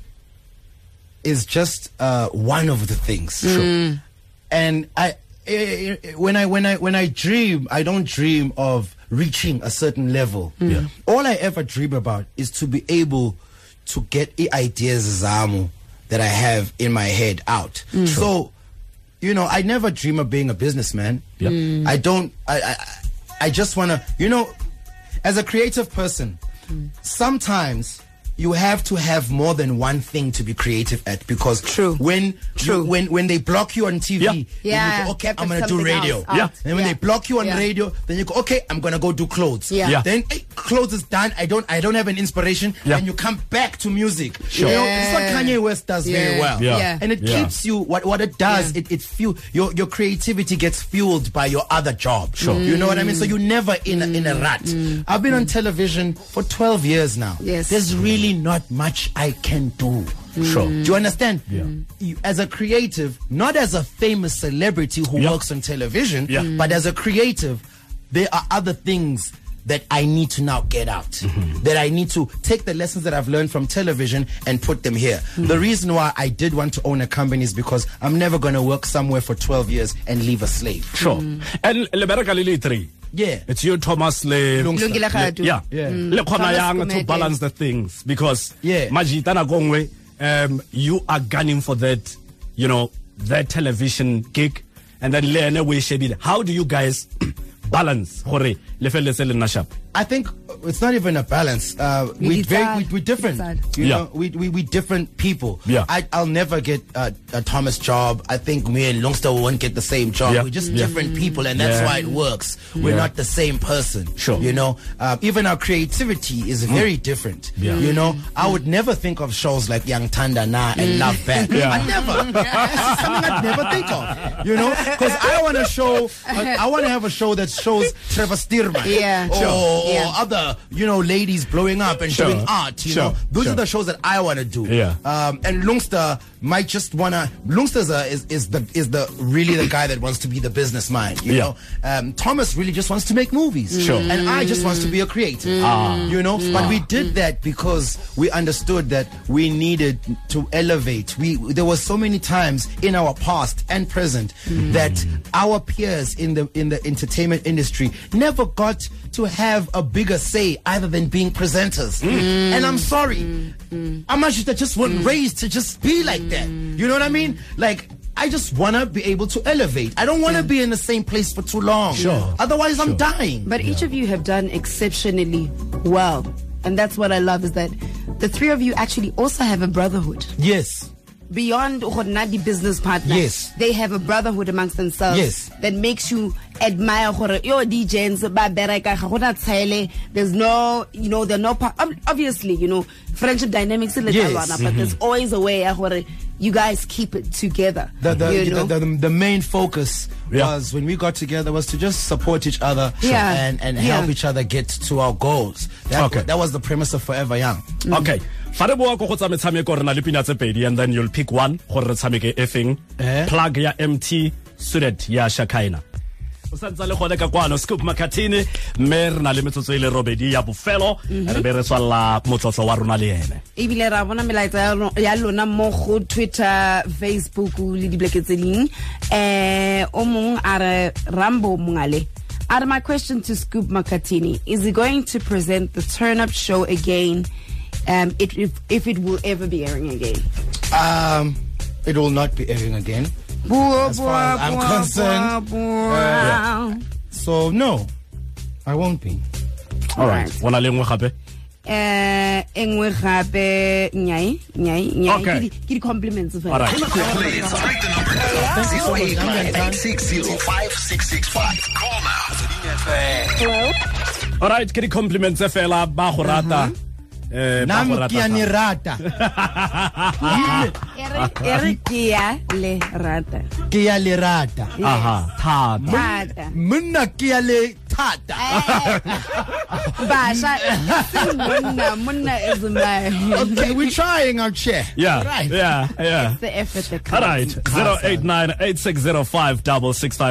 [SPEAKER 4] is just uh, one of the things. And I, eh, eh, when I when I when I dream, I don't dream of reaching a certain level.
[SPEAKER 3] Yeah.
[SPEAKER 4] All I ever dream about is to be able to get the ideas zamu that I have in my head out. So, you know, I never dream of being a businessman.
[SPEAKER 3] Yeah. Mm.
[SPEAKER 4] I don't. I I, I just want to. You know, as a creative person, sometimes you have to have more than one thing to be creative at because
[SPEAKER 2] True.
[SPEAKER 4] when
[SPEAKER 2] True.
[SPEAKER 4] you- when when they block you on TV,
[SPEAKER 3] Yeah.
[SPEAKER 4] then
[SPEAKER 2] Yeah,
[SPEAKER 4] you go, okay,
[SPEAKER 2] get
[SPEAKER 4] I'm gonna do
[SPEAKER 2] something
[SPEAKER 4] radio.
[SPEAKER 2] else out. Yeah.
[SPEAKER 4] And when
[SPEAKER 2] Yeah.
[SPEAKER 4] they block you on
[SPEAKER 2] Yeah.
[SPEAKER 4] radio, then you go, okay, I'm gonna go do clothes.
[SPEAKER 2] Yeah. Yeah.
[SPEAKER 4] Then eh, clothes is done. I don't I don't have an inspiration.
[SPEAKER 3] Yeah.
[SPEAKER 4] And you come back to music.
[SPEAKER 3] Sure.
[SPEAKER 4] You know, it's what
[SPEAKER 2] Yeah.
[SPEAKER 4] Kanye West does very
[SPEAKER 2] Yeah.
[SPEAKER 4] well.
[SPEAKER 3] Yeah.
[SPEAKER 2] Yeah.
[SPEAKER 4] And it
[SPEAKER 3] Yeah.
[SPEAKER 4] keeps you what what it does,
[SPEAKER 2] Yeah.
[SPEAKER 4] it, it fuel your your creativity gets fueled by your other job. Sure. You know what I mean? So you're never in a, in
[SPEAKER 2] Mm.
[SPEAKER 4] a rut. I've been on television for 12 years now.
[SPEAKER 2] Yes. Mm.
[SPEAKER 4] There's really not much I can do.
[SPEAKER 3] Sure.
[SPEAKER 4] Do you understand?
[SPEAKER 3] Yeah.
[SPEAKER 4] You- As a creative, not as a famous celebrity who
[SPEAKER 3] Yeah.
[SPEAKER 4] works on television,
[SPEAKER 3] Yeah. Mm.
[SPEAKER 4] but as a creative, there are other things that I need to now get out. That I need to take the lessons that I've learned from television and put them here. The reason why I did want to own a company is because I'm never going to work somewhere for 12 years and leave a slave.
[SPEAKER 3] sure Mm. and le bereka le le three
[SPEAKER 4] Yeah.
[SPEAKER 3] it's you thomas le
[SPEAKER 4] Lungisa.
[SPEAKER 2] Lungile Radu.
[SPEAKER 3] yeah
[SPEAKER 4] Yeah.
[SPEAKER 3] le khona
[SPEAKER 2] Thomas
[SPEAKER 3] yang to
[SPEAKER 2] Gumede.
[SPEAKER 3] balance the things because
[SPEAKER 4] Yeah.
[SPEAKER 3] majita na gongwe um you are gunning for that you know that television gig and then le ene we shebile how do you guys balance gore le feletse le nna sharp
[SPEAKER 4] I think it's not even a balance. Uh,
[SPEAKER 2] You
[SPEAKER 4] we
[SPEAKER 2] did
[SPEAKER 4] very,
[SPEAKER 2] that.
[SPEAKER 4] we, we're
[SPEAKER 2] You
[SPEAKER 4] different.
[SPEAKER 2] did
[SPEAKER 4] You
[SPEAKER 3] Yeah.
[SPEAKER 4] know, we, we we different people.
[SPEAKER 3] Yeah.
[SPEAKER 4] I I'll never get uh, a Thomas job. I think me and Longster won't get the same job.
[SPEAKER 3] Yeah.
[SPEAKER 4] We're just
[SPEAKER 3] Yeah.
[SPEAKER 4] different people, and that's
[SPEAKER 3] Yeah.
[SPEAKER 4] why it works. We're
[SPEAKER 3] Yeah.
[SPEAKER 4] not the same person.
[SPEAKER 3] Sure. Mm.
[SPEAKER 4] You know, uh, even our creativity is very different.
[SPEAKER 3] Yeah.
[SPEAKER 4] You know,
[SPEAKER 2] Mm.
[SPEAKER 4] I would never think of shows like Young Tanda Na and Love Back.
[SPEAKER 3] Yeah.
[SPEAKER 4] I never. That's something I'd never think of. You know, because I want to show. I want to have a show that shows Trevor Stearman.
[SPEAKER 2] Yeah.
[SPEAKER 4] Or,
[SPEAKER 2] Sure.
[SPEAKER 4] or
[SPEAKER 2] Yeah.
[SPEAKER 4] other the you know ladies blowing up and
[SPEAKER 3] Sure.
[SPEAKER 4] doing art. You
[SPEAKER 3] Sure.
[SPEAKER 4] know, those
[SPEAKER 3] Sure.
[SPEAKER 4] are the shows that I want to do.
[SPEAKER 3] Yeah.
[SPEAKER 4] Um, and Lungster might just wanna Lungster's a, is is the is the really the guy that wants to be the business mind. You
[SPEAKER 3] Yeah.
[SPEAKER 4] know, um, Thomas really just wants to make movies.
[SPEAKER 3] Sure.
[SPEAKER 4] And I just wants to be a creative. You know, but we did that because we understood that we needed to elevate. We there were so many times in our past and present that our peers in the in the entertainment industry never got to have a bigger say other than being presenters. And I'm sorry. Amashita just wasn't raised to just be like that. You know what I mean? Like I just wanna be able to elevate. I don't wanna be in the same place for too long.
[SPEAKER 3] Sure.
[SPEAKER 4] Otherwise I'm dying.
[SPEAKER 2] But each of you have done exceptionally well. And that's what I love is that the three of you actually also have a brotherhood.
[SPEAKER 4] yes.
[SPEAKER 2] Beyond Nadi business partner,
[SPEAKER 4] Yes.
[SPEAKER 2] they have a brotherhood amongst themselves
[SPEAKER 4] Yes.
[SPEAKER 2] that makes you admire gore, yo DJs ba bereka ga gona tshele there's no you know there're no pa- ob- obviously you know friendship dynamics e le
[SPEAKER 4] Yes. Mm-hmm.
[SPEAKER 2] tsalwana, but there's always a way ya gore you guys keep it together
[SPEAKER 4] the the,
[SPEAKER 2] you know?
[SPEAKER 4] the, the, the main focus
[SPEAKER 3] Yeah.
[SPEAKER 4] was when we got together was to just support each other
[SPEAKER 2] Yeah.
[SPEAKER 4] and, and
[SPEAKER 2] Yeah.
[SPEAKER 4] help each other get to our goals. That,
[SPEAKER 3] Okay.
[SPEAKER 4] that was the premise of Forever Young.
[SPEAKER 3] okay fa re boa ko go tsa metshameko re na le pina tse pedi and then you'll pick one gore re tshameke e feng
[SPEAKER 4] Eh.
[SPEAKER 3] plug ya mt student ya shakaina o santsa le gone ka kwano scoop makatini mme re na le metsotso e le robedi ya bofelo re be re tswalela motlotlo wa rona le ene
[SPEAKER 2] ebile ra bona melaetsa ya ro- ya lona mo go twitter facebook le dibeke tse ding um o mongwe a re rambo mongale a re my question to scoop makatini is he going to present the turn up show again um, it, if, if it will ever be airing again
[SPEAKER 4] Um, it will not be airing again.
[SPEAKER 2] Bua,
[SPEAKER 4] far
[SPEAKER 2] bua,
[SPEAKER 4] as I'm
[SPEAKER 2] bua,
[SPEAKER 4] concerned,
[SPEAKER 2] bua, bua.
[SPEAKER 4] So no, I won't be.
[SPEAKER 3] all right go na le nngwe gape
[SPEAKER 2] Eh, e nngwe gape nnyai nnyai nnyai
[SPEAKER 3] Okay.
[SPEAKER 2] Ke di- ke di-compliments fela.
[SPEAKER 3] all right
[SPEAKER 1] Please break the number down. 0898605665. Call now. Motsweding FM.
[SPEAKER 3] all right ke di-compliments tse fela ba go rata Eh, ba go
[SPEAKER 4] Nam
[SPEAKER 3] rata
[SPEAKER 4] kia ni
[SPEAKER 3] thata.
[SPEAKER 4] rata,
[SPEAKER 2] E re- e re ke ya le rata
[SPEAKER 4] kia le rata.
[SPEAKER 3] aha thata
[SPEAKER 2] Thata.
[SPEAKER 4] Muna kia le tata.
[SPEAKER 2] Basha, sing monna, monna is my.
[SPEAKER 4] Okay, we're trying our chair.
[SPEAKER 3] yeah
[SPEAKER 4] Right.
[SPEAKER 3] yeah yeah
[SPEAKER 2] The effort that
[SPEAKER 3] All
[SPEAKER 2] comes.
[SPEAKER 3] right, 089-8605-665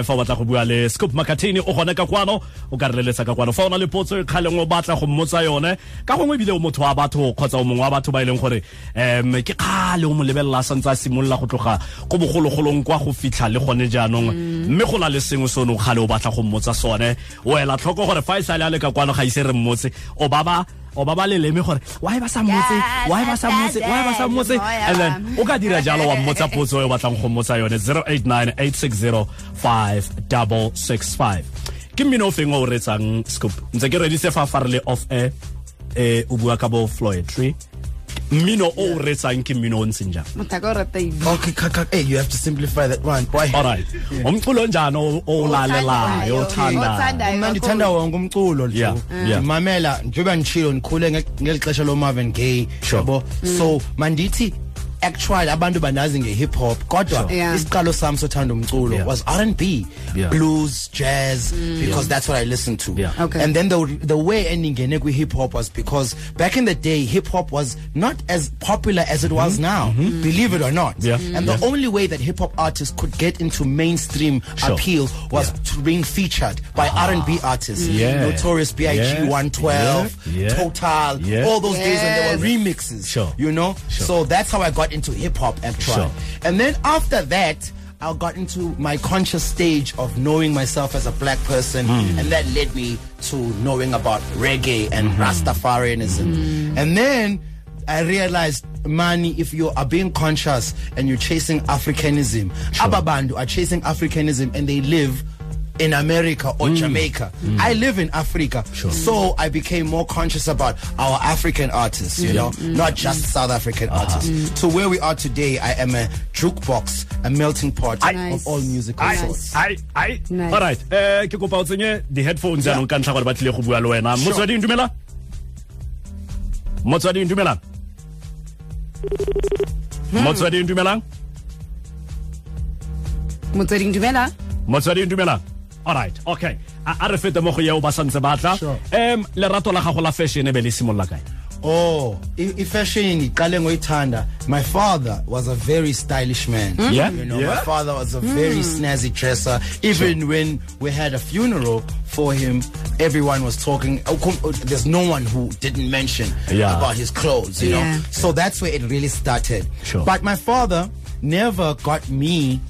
[SPEAKER 3] fa o batla go bua le scoop makatini o gone ka kwano o ka re leletsa ka kwano fa o na le potso e kgaleng o batla go mmotsa yone ka gongwe ebile o motho wa batho kgotsa o mongwe wa batho ba e leng gore um ke kgale o mo lebelela a santse a simolola go tloga ko bogologolong kwa go fitlha le gone jaanong mme go na le sengwe se o neng kgale o batla go mmotsa sone o ela tlhoko gore fa e sale a le ka kwano ga ise re mmotse o ba ba o ba ba leleme gore why ba sa mmotse why ba sa mmotse why ba sa mmotse and then o ka dira jalo wa mmotsa potso e o batlang go mmotsa yone 0898605665 ke mmino o feng o o reetsang scoop ntse ke reditse fa fa re le off air eh o bua ka bo floetry mmino o o reetsang ke mmino o ntseng jang
[SPEAKER 2] Motho a ka o rata eng?
[SPEAKER 4] Okay, kaka. Hey, you have to simplify that one. Why?
[SPEAKER 3] alright omculo onjani o- o lalelayo o
[SPEAKER 2] O
[SPEAKER 3] thandayo
[SPEAKER 2] othandayo
[SPEAKER 4] mna ndithanda
[SPEAKER 2] kakhulu.
[SPEAKER 4] wonke umculo
[SPEAKER 3] Yeah,
[SPEAKER 4] nje
[SPEAKER 3] yeah.
[SPEAKER 4] ndimamela njengoba nditshilo ndikhule nge- ngeli xesha lo-marvin gay
[SPEAKER 3] Sure.
[SPEAKER 4] yabo so mandithi actually abantu banazi nge-hip hop kodwa
[SPEAKER 2] Sure. Yeah.
[SPEAKER 4] isiqalo sam sothanda umculo
[SPEAKER 3] Yeah.
[SPEAKER 4] was r and b
[SPEAKER 3] Yeah.
[SPEAKER 4] blues jazz because that's what i listened to
[SPEAKER 3] Yeah.
[SPEAKER 2] Mm. Okay.
[SPEAKER 4] and then the, the way endingene kwi-hip hop was because back in the day hip hop was not as popular as it was now believe it or not
[SPEAKER 3] Mm-hmm. Yeah.
[SPEAKER 4] and the only way that hip hop artists could get into mainstream
[SPEAKER 3] Sure.
[SPEAKER 4] appeal was
[SPEAKER 3] Yeah. Ah.
[SPEAKER 4] to being featured by R&B artists, Mm.
[SPEAKER 3] Yeah.
[SPEAKER 4] Notorious B.I.G.,
[SPEAKER 3] Yeah.
[SPEAKER 4] 112,
[SPEAKER 3] Yeah. Yeah.
[SPEAKER 4] Total,
[SPEAKER 3] Yeah.
[SPEAKER 4] all those days when there were remixes.
[SPEAKER 3] Sure.
[SPEAKER 4] You know,
[SPEAKER 3] Sure.
[SPEAKER 4] so that's how I got into hip hop actually.
[SPEAKER 3] Sure.
[SPEAKER 4] And then after that. I got into my conscious stage of knowing myself as a black person, and that led me to knowing about reggae and Rastafarianism. And then I realized, Mani, if you are being conscious and you're chasing Africanism, Ababandu are chasing Africanism and they live in America or Jamaica. I live in Africa. So I became more conscious about our African artists, you know, not just South African artists. To where we are today, I am a jukebox, a melting pot
[SPEAKER 2] Nice.
[SPEAKER 4] of all musical
[SPEAKER 3] Ai,
[SPEAKER 4] sorts.
[SPEAKER 3] ai, ai.
[SPEAKER 2] Nice.
[SPEAKER 3] alright eh ke kopa o tsenye di-headphones yanong ka ntlha gore ba tlile go bua le wena motswading dumela motswading dumelang motswading dumelang
[SPEAKER 2] Motsweding, dumela.
[SPEAKER 3] motswading dumelang alright okay a a re fete mo go yeo ba santse batla
[SPEAKER 4] Sure.
[SPEAKER 3] um lerato la gago la fashion e be le simolola kae
[SPEAKER 4] Oh, i- ifashion iqale ngoyithanda. My father was a very stylish man.
[SPEAKER 3] Hmm? Yeah,
[SPEAKER 4] You know,
[SPEAKER 3] yeah. Hmm.
[SPEAKER 4] my father was a very snazzy dresser. Even when we had a funeral for him, everyone was talking. oh, come- oh, There's no one who didn't mention
[SPEAKER 3] Yeah.
[SPEAKER 4] about his clothes, you
[SPEAKER 2] Yeah.
[SPEAKER 4] know. So that's where it really started.
[SPEAKER 3] Sure.
[SPEAKER 4] But my father never got me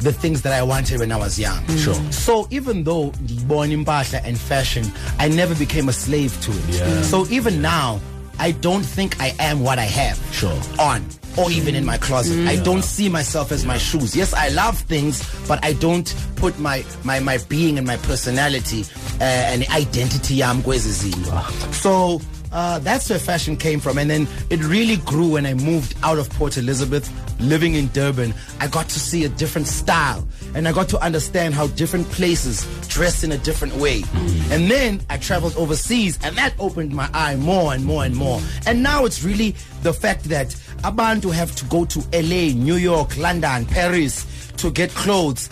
[SPEAKER 4] the things that I wanted when I was young.
[SPEAKER 3] Mm.
[SPEAKER 4] Sure. So even though born in Basha and fashion, I never became a slave to it.
[SPEAKER 3] Yeah.
[SPEAKER 4] So even now, I don't think I am what I have
[SPEAKER 3] Sure.
[SPEAKER 4] on or even in my closet. I don't see myself as my shoes. Yes, I love things, but I don't put my my, my being and my personality uh, and identity I'm So uh, that's where fashion came from, and then it really grew when I moved out of Port Elizabeth, living in Durban. I got to see a different style, and I got to understand how different places dress in a different way.
[SPEAKER 3] Mm.
[SPEAKER 4] And then I traveled overseas, and that opened my eye more and more and more. And now it's really the fact that Abantu have to go to LA, New York, London, Paris to get clothes.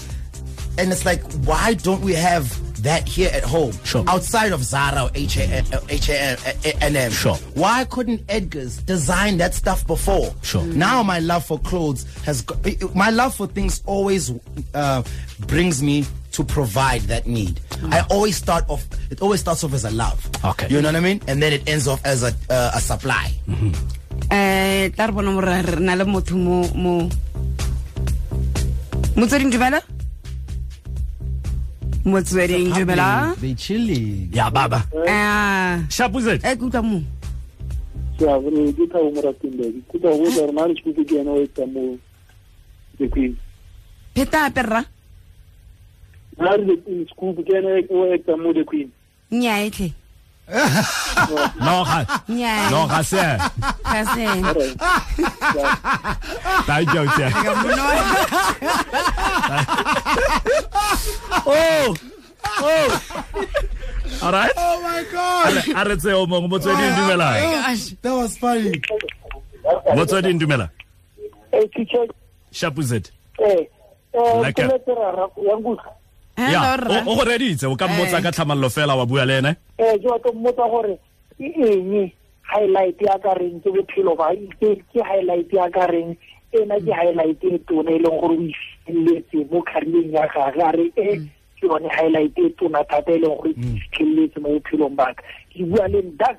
[SPEAKER 4] And it's like, why don't we have that here at home?
[SPEAKER 3] Sure.
[SPEAKER 4] Outside of Zara or H&M, H&M.
[SPEAKER 3] Sure.
[SPEAKER 4] Why couldn't Edgar's design that stuff before?
[SPEAKER 3] Sure. Mm.
[SPEAKER 4] Now my love for clothes has got, it- it- my love for things always uh, brings me to provide that need. I always start off. It always starts off as a love.
[SPEAKER 3] Okay.
[SPEAKER 4] You know what I mean? And then it ends off as a uh, a supply.
[SPEAKER 2] eh tla re bona morra re na le motho mo mo motsweding dumela motsweding dumela
[SPEAKER 4] They chilling.
[SPEAKER 3] ya baba
[SPEAKER 2] Ah,
[SPEAKER 3] shapuzet
[SPEAKER 2] eh ke utlwa mo
[SPEAKER 6] Yeah, when you get home, what happened there? You could have waited and managed to get away with the move. The queen.
[SPEAKER 2] pheta ape rra
[SPEAKER 6] Now the queen school began away with the move, the queen.
[SPEAKER 2] nnyae tlhe
[SPEAKER 3] no ga
[SPEAKER 2] nnyae
[SPEAKER 3] no ga se
[SPEAKER 2] ga se
[SPEAKER 3] thank you tse oh oh all right
[SPEAKER 4] Oh my god!
[SPEAKER 3] a re tse o mong motsweding dumelang
[SPEAKER 2] Gosh.
[SPEAKER 4] That was funny.
[SPEAKER 3] motsweding dumela
[SPEAKER 6] Hey, teacher,
[SPEAKER 3] shapuzet
[SPEAKER 6] hey. Uh,
[SPEAKER 3] Like a-
[SPEAKER 2] hello
[SPEAKER 3] ya
[SPEAKER 2] rra
[SPEAKER 3] o- o go reditse o ka mmotsa ka tlhamallo fela wa bua le ene
[SPEAKER 6] Eh, ke batla mmotsa gore ke eng highlight ya ka reng ke bophelo ba ke ke highlight ya ka reng ena ke highlight e tona e leng gore o ifitlheletse mo career-eng ya gage a re e
[SPEAKER 2] Mm.
[SPEAKER 6] ke yone highlight e tona thata e leng gore ke ifitlheletse mo bophelong baka ke bua le dax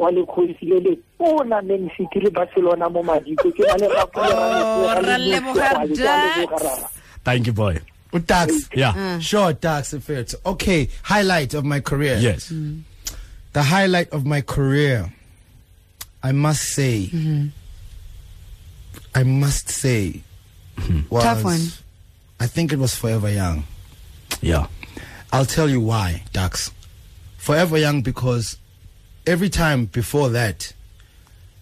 [SPEAKER 6] wa lekgosi le le tona man city le barcelona mo madiko ke na
[SPEAKER 2] Oh,
[SPEAKER 6] le rapolera
[SPEAKER 2] ra leboga, Dax.
[SPEAKER 3] thank you boy
[SPEAKER 4] Dax.
[SPEAKER 3] yeah
[SPEAKER 4] Sure, Dax Effert. Okay, highlight of my career.
[SPEAKER 3] yes
[SPEAKER 4] The highlight of my career, I must say,
[SPEAKER 2] Mm-hmm.
[SPEAKER 4] I must say, was,
[SPEAKER 2] Tough one.
[SPEAKER 4] I think it was Forever Young.
[SPEAKER 3] yeah
[SPEAKER 4] I'll tell you why, Dax. Forever Young because every time before that,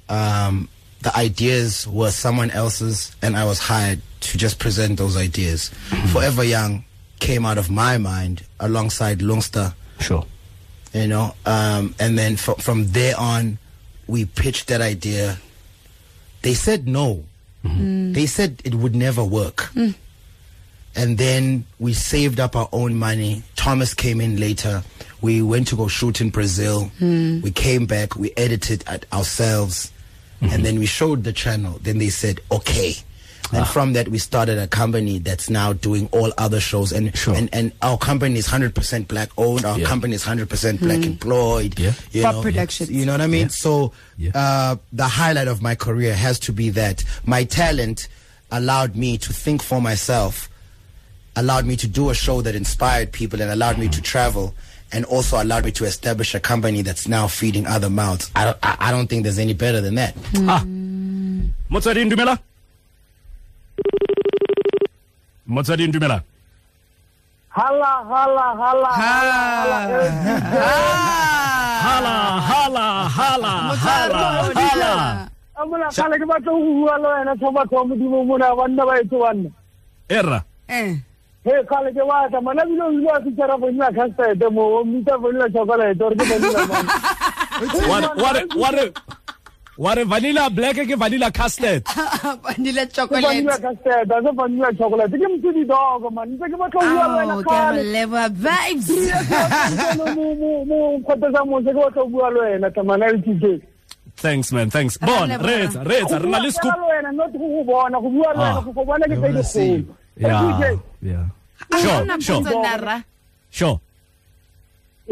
[SPEAKER 4] um, the ideas were someone else's, and I was hired to just present those ideas. Forever Young came out of my mind alongside Longster
[SPEAKER 3] sure
[SPEAKER 4] you know um, and then fr- from there on we pitched that idea they said no they said it would never work and then we saved up our own money thomas came in later we went to go shoot in brazil we came back we edited at ourselves and then we showed the channel then they said okay and from that we started a company that's now doing all other shows and
[SPEAKER 3] Sure.
[SPEAKER 4] and, and our company is 100% black owned our
[SPEAKER 3] Yeah.
[SPEAKER 4] company company is 100% black employed.
[SPEAKER 3] Yeah.
[SPEAKER 4] You
[SPEAKER 2] Pop
[SPEAKER 4] know,
[SPEAKER 2] Hmm. Productions.
[SPEAKER 4] You know what I mean? So
[SPEAKER 3] Yeah.
[SPEAKER 4] uh, the highlight of my career has to be that my talent allowed me to think for myself, allowed me to do a show that inspired people and allowed me
[SPEAKER 3] Mm-hmm.
[SPEAKER 4] to travel. And also allowed me to establish a company that's now feeding other mouths. I don't, I I don't think there's any better than that.
[SPEAKER 3] ah motsweding dumela motsweding dumela
[SPEAKER 6] hala hala hala Eh,
[SPEAKER 2] Ah.
[SPEAKER 3] hala hala hala hala hala
[SPEAKER 6] a molakgale ke batla go bua le wena thobatho wa modimo mona banna ba etse banna
[SPEAKER 3] erra
[SPEAKER 2] Eh,
[SPEAKER 6] he kgale ke batla mana bile o ile a fitshwara bonina castete mo o mmita bonina chocolate ore ke bonina
[SPEAKER 3] wa re- wa re- wa re- wa re vanilla black ke vanilla custard
[SPEAKER 2] vanilla chocolate
[SPEAKER 6] vanilla custard a se vanilla chocolate ke motse dog man ntse ke batla ho bua le wena
[SPEAKER 2] Oh, ke a
[SPEAKER 6] kgale
[SPEAKER 2] moleba vibes
[SPEAKER 6] mokgotesa mose ke batla ho bua le wena tamana letike
[SPEAKER 3] thanks man thanks bona
[SPEAKER 2] leboha.
[SPEAKER 3] retsa retsa re na le scoop
[SPEAKER 6] le wena not go go bona go bua le
[SPEAKER 3] Ah.
[SPEAKER 6] wena go go bona ke tse
[SPEAKER 4] wanna see
[SPEAKER 6] dikgolo
[SPEAKER 4] you.
[SPEAKER 3] yeah
[SPEAKER 6] Letike,
[SPEAKER 3] yeah
[SPEAKER 2] Ha
[SPEAKER 3] sure
[SPEAKER 2] hona
[SPEAKER 3] sure
[SPEAKER 2] potso narra.
[SPEAKER 3] sure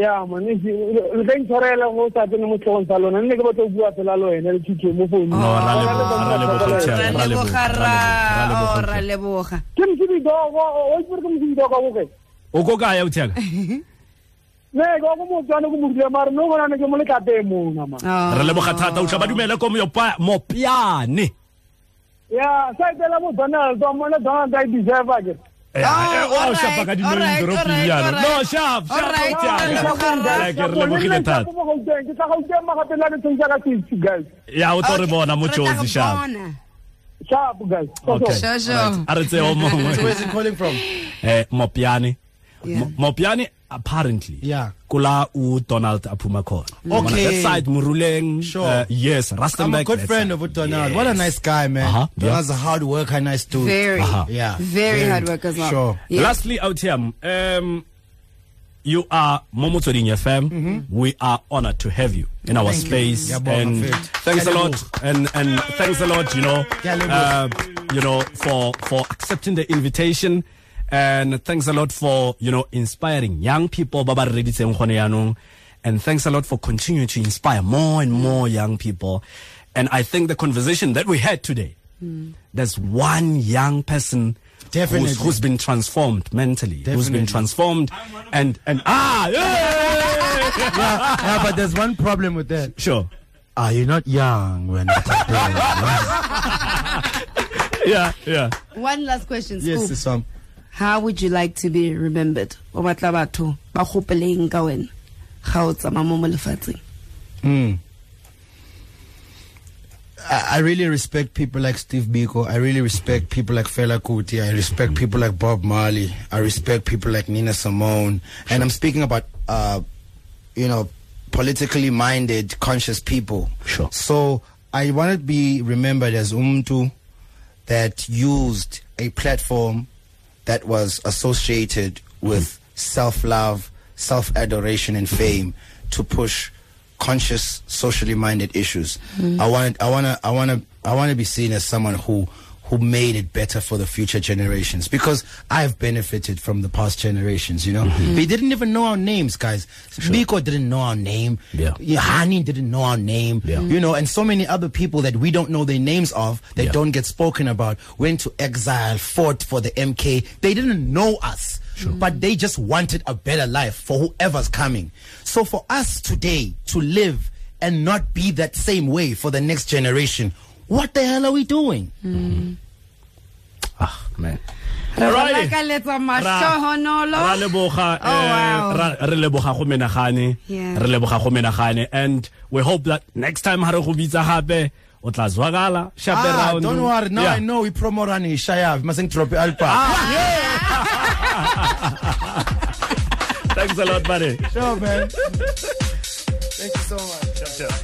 [SPEAKER 6] ya man e- e- le ka intshwarela go sa tsene mo tlhogong tsa lona nne ke batla go bua fela le wena letike mo
[SPEAKER 3] no
[SPEAKER 6] founung
[SPEAKER 3] ra le ra le
[SPEAKER 2] ra leboga ra oh, ra leboga
[SPEAKER 6] ke mosibidogo o ipore ke mosibidogo boke
[SPEAKER 3] o go kaya o tsaka
[SPEAKER 6] ne ke wa ko motswane ko morile mare no bonane ke mo lekateng mona ma
[SPEAKER 2] Oh.
[SPEAKER 3] re leboga thata o tla ba dumele ko moyopa mopiane
[SPEAKER 6] ya sa etela bo donald a mone donald a e deserve ke
[SPEAKER 3] Eh, eh,
[SPEAKER 2] all
[SPEAKER 3] o shapa
[SPEAKER 2] right,
[SPEAKER 3] ka dinong
[SPEAKER 2] all right,
[SPEAKER 3] doropi
[SPEAKER 2] all right,
[SPEAKER 3] jalo.
[SPEAKER 2] all right.
[SPEAKER 3] No, sharp,
[SPEAKER 2] All
[SPEAKER 3] sharp,
[SPEAKER 2] right,
[SPEAKER 3] o tsaka.
[SPEAKER 2] all right, all right.
[SPEAKER 3] Eh, Ke re lebogile thata.
[SPEAKER 6] mo gauteng ke sa gauteng magapela ke tshwentse ka sixty guys
[SPEAKER 3] ya o tlo re
[SPEAKER 2] Okay,
[SPEAKER 3] bona mo
[SPEAKER 2] re tla re
[SPEAKER 3] Jozi, sharp.
[SPEAKER 2] bona.
[SPEAKER 6] sharp guys
[SPEAKER 3] Okay,
[SPEAKER 2] Sure,
[SPEAKER 3] all
[SPEAKER 2] sure.
[SPEAKER 3] right.
[SPEAKER 4] Ah,
[SPEAKER 3] a re tseye o mongwe
[SPEAKER 4] Where's he calling from?
[SPEAKER 3] Eh, mopiane
[SPEAKER 2] Yeah.
[SPEAKER 3] Mo- mopiane apparently
[SPEAKER 4] Yeah.
[SPEAKER 3] kula u donald aphuma khona Bona that
[SPEAKER 4] Okay.
[SPEAKER 3] side muruleng
[SPEAKER 4] Sure.
[SPEAKER 3] uh, yes
[SPEAKER 4] I'm a
[SPEAKER 3] rustenburg
[SPEAKER 4] good
[SPEAKER 3] that
[SPEAKER 4] friend
[SPEAKER 3] side.
[SPEAKER 4] of Donald. What a nice guy, man.
[SPEAKER 3] Uh-huh, yeah.
[SPEAKER 4] Donald's a hard worker, nice dude.
[SPEAKER 2] very
[SPEAKER 3] Aha.
[SPEAKER 4] Yeah.
[SPEAKER 2] very
[SPEAKER 4] Very.
[SPEAKER 2] hard work as well
[SPEAKER 4] Sure.
[SPEAKER 2] Yeah.
[SPEAKER 3] Lastly, out here, um, you are Momotoring FM. We are honored to have you in our space.
[SPEAKER 4] Mm-hmm. Yeah, boy,
[SPEAKER 3] and
[SPEAKER 4] I'm fit.
[SPEAKER 3] thanks a
[SPEAKER 4] Yeah,
[SPEAKER 3] lot. And and thanks a lot, you know,
[SPEAKER 4] Yeah, Lebo.
[SPEAKER 3] uh, you know, for for accepting the invitation. And thanks a lot for, you know, inspiring young people. Baba ready to ngkhona yanong. And thanks a lot for continuing to inspire more and more young people. And I think the conversation that we had today, there's one young person
[SPEAKER 4] Hmm. Definitely.
[SPEAKER 3] who's, who's been transformed mentally, who's
[SPEAKER 4] Definitely.
[SPEAKER 3] been transformed, and and ah, yeah,
[SPEAKER 4] Yeah, but there's one problem with that.
[SPEAKER 3] sure,
[SPEAKER 4] Are you not young when it's
[SPEAKER 3] yeah, yeah.
[SPEAKER 2] one last question
[SPEAKER 4] Yes,
[SPEAKER 2] Scoop.
[SPEAKER 4] it's um,
[SPEAKER 2] how would you like to be remembered o batla batho ba gopeleng ka wena ga o tsamaya mo mo lefatsheng
[SPEAKER 4] hmm. I, I really respect people like Steve Biko. I really respect people like Fela Kuti. I respect people like Bob Marley. I respect people like Nina Simone. And I'm speaking about, uh, you know, politically minded, conscious people.
[SPEAKER 3] Sure.
[SPEAKER 4] So I want to be remembered as Umtu that used a platform that was associated with self love, self adoration, and fame to push conscious, socially minded issues. I want, I want to, I want to, I want to be seen as someone who who made it better for the future generations because I've benefited from the past generations, you know. They didn't even know our names, guys. Biko didn't know our name.
[SPEAKER 3] Yeah.
[SPEAKER 4] Hani didn't know our name.
[SPEAKER 3] Yeah.
[SPEAKER 4] You know, and so many other people that we don't know their names of that
[SPEAKER 3] Yeah.
[SPEAKER 4] don't get spoken about went to exile, fought for the MK. They didn't know us. But they just wanted a better life for whoever's coming. So for us today to live and not be that same way for the next generation, what the hell are we doing?
[SPEAKER 3] Mm. Ah man.
[SPEAKER 2] Re go
[SPEAKER 3] Alrighty.
[SPEAKER 2] lakaletsa
[SPEAKER 3] Ra-
[SPEAKER 2] mahlohonolo.
[SPEAKER 3] ra leboga,
[SPEAKER 2] Oh, wow.
[SPEAKER 3] eh, ra- re leboga go menagane
[SPEAKER 2] Yeah.
[SPEAKER 3] re leboga go menagane and we hope that next time ha re go bitsa gape o tla zwakala shape
[SPEAKER 4] Ah,
[SPEAKER 3] round.
[SPEAKER 4] don't worry. Now
[SPEAKER 3] Yeah. Ah.
[SPEAKER 4] I know we promote Rani Ishayav. Mustn't drop it. Alpa.
[SPEAKER 3] thanks a lot buddy
[SPEAKER 4] Sure, man. Thank you so much.
[SPEAKER 3] Chop, chop.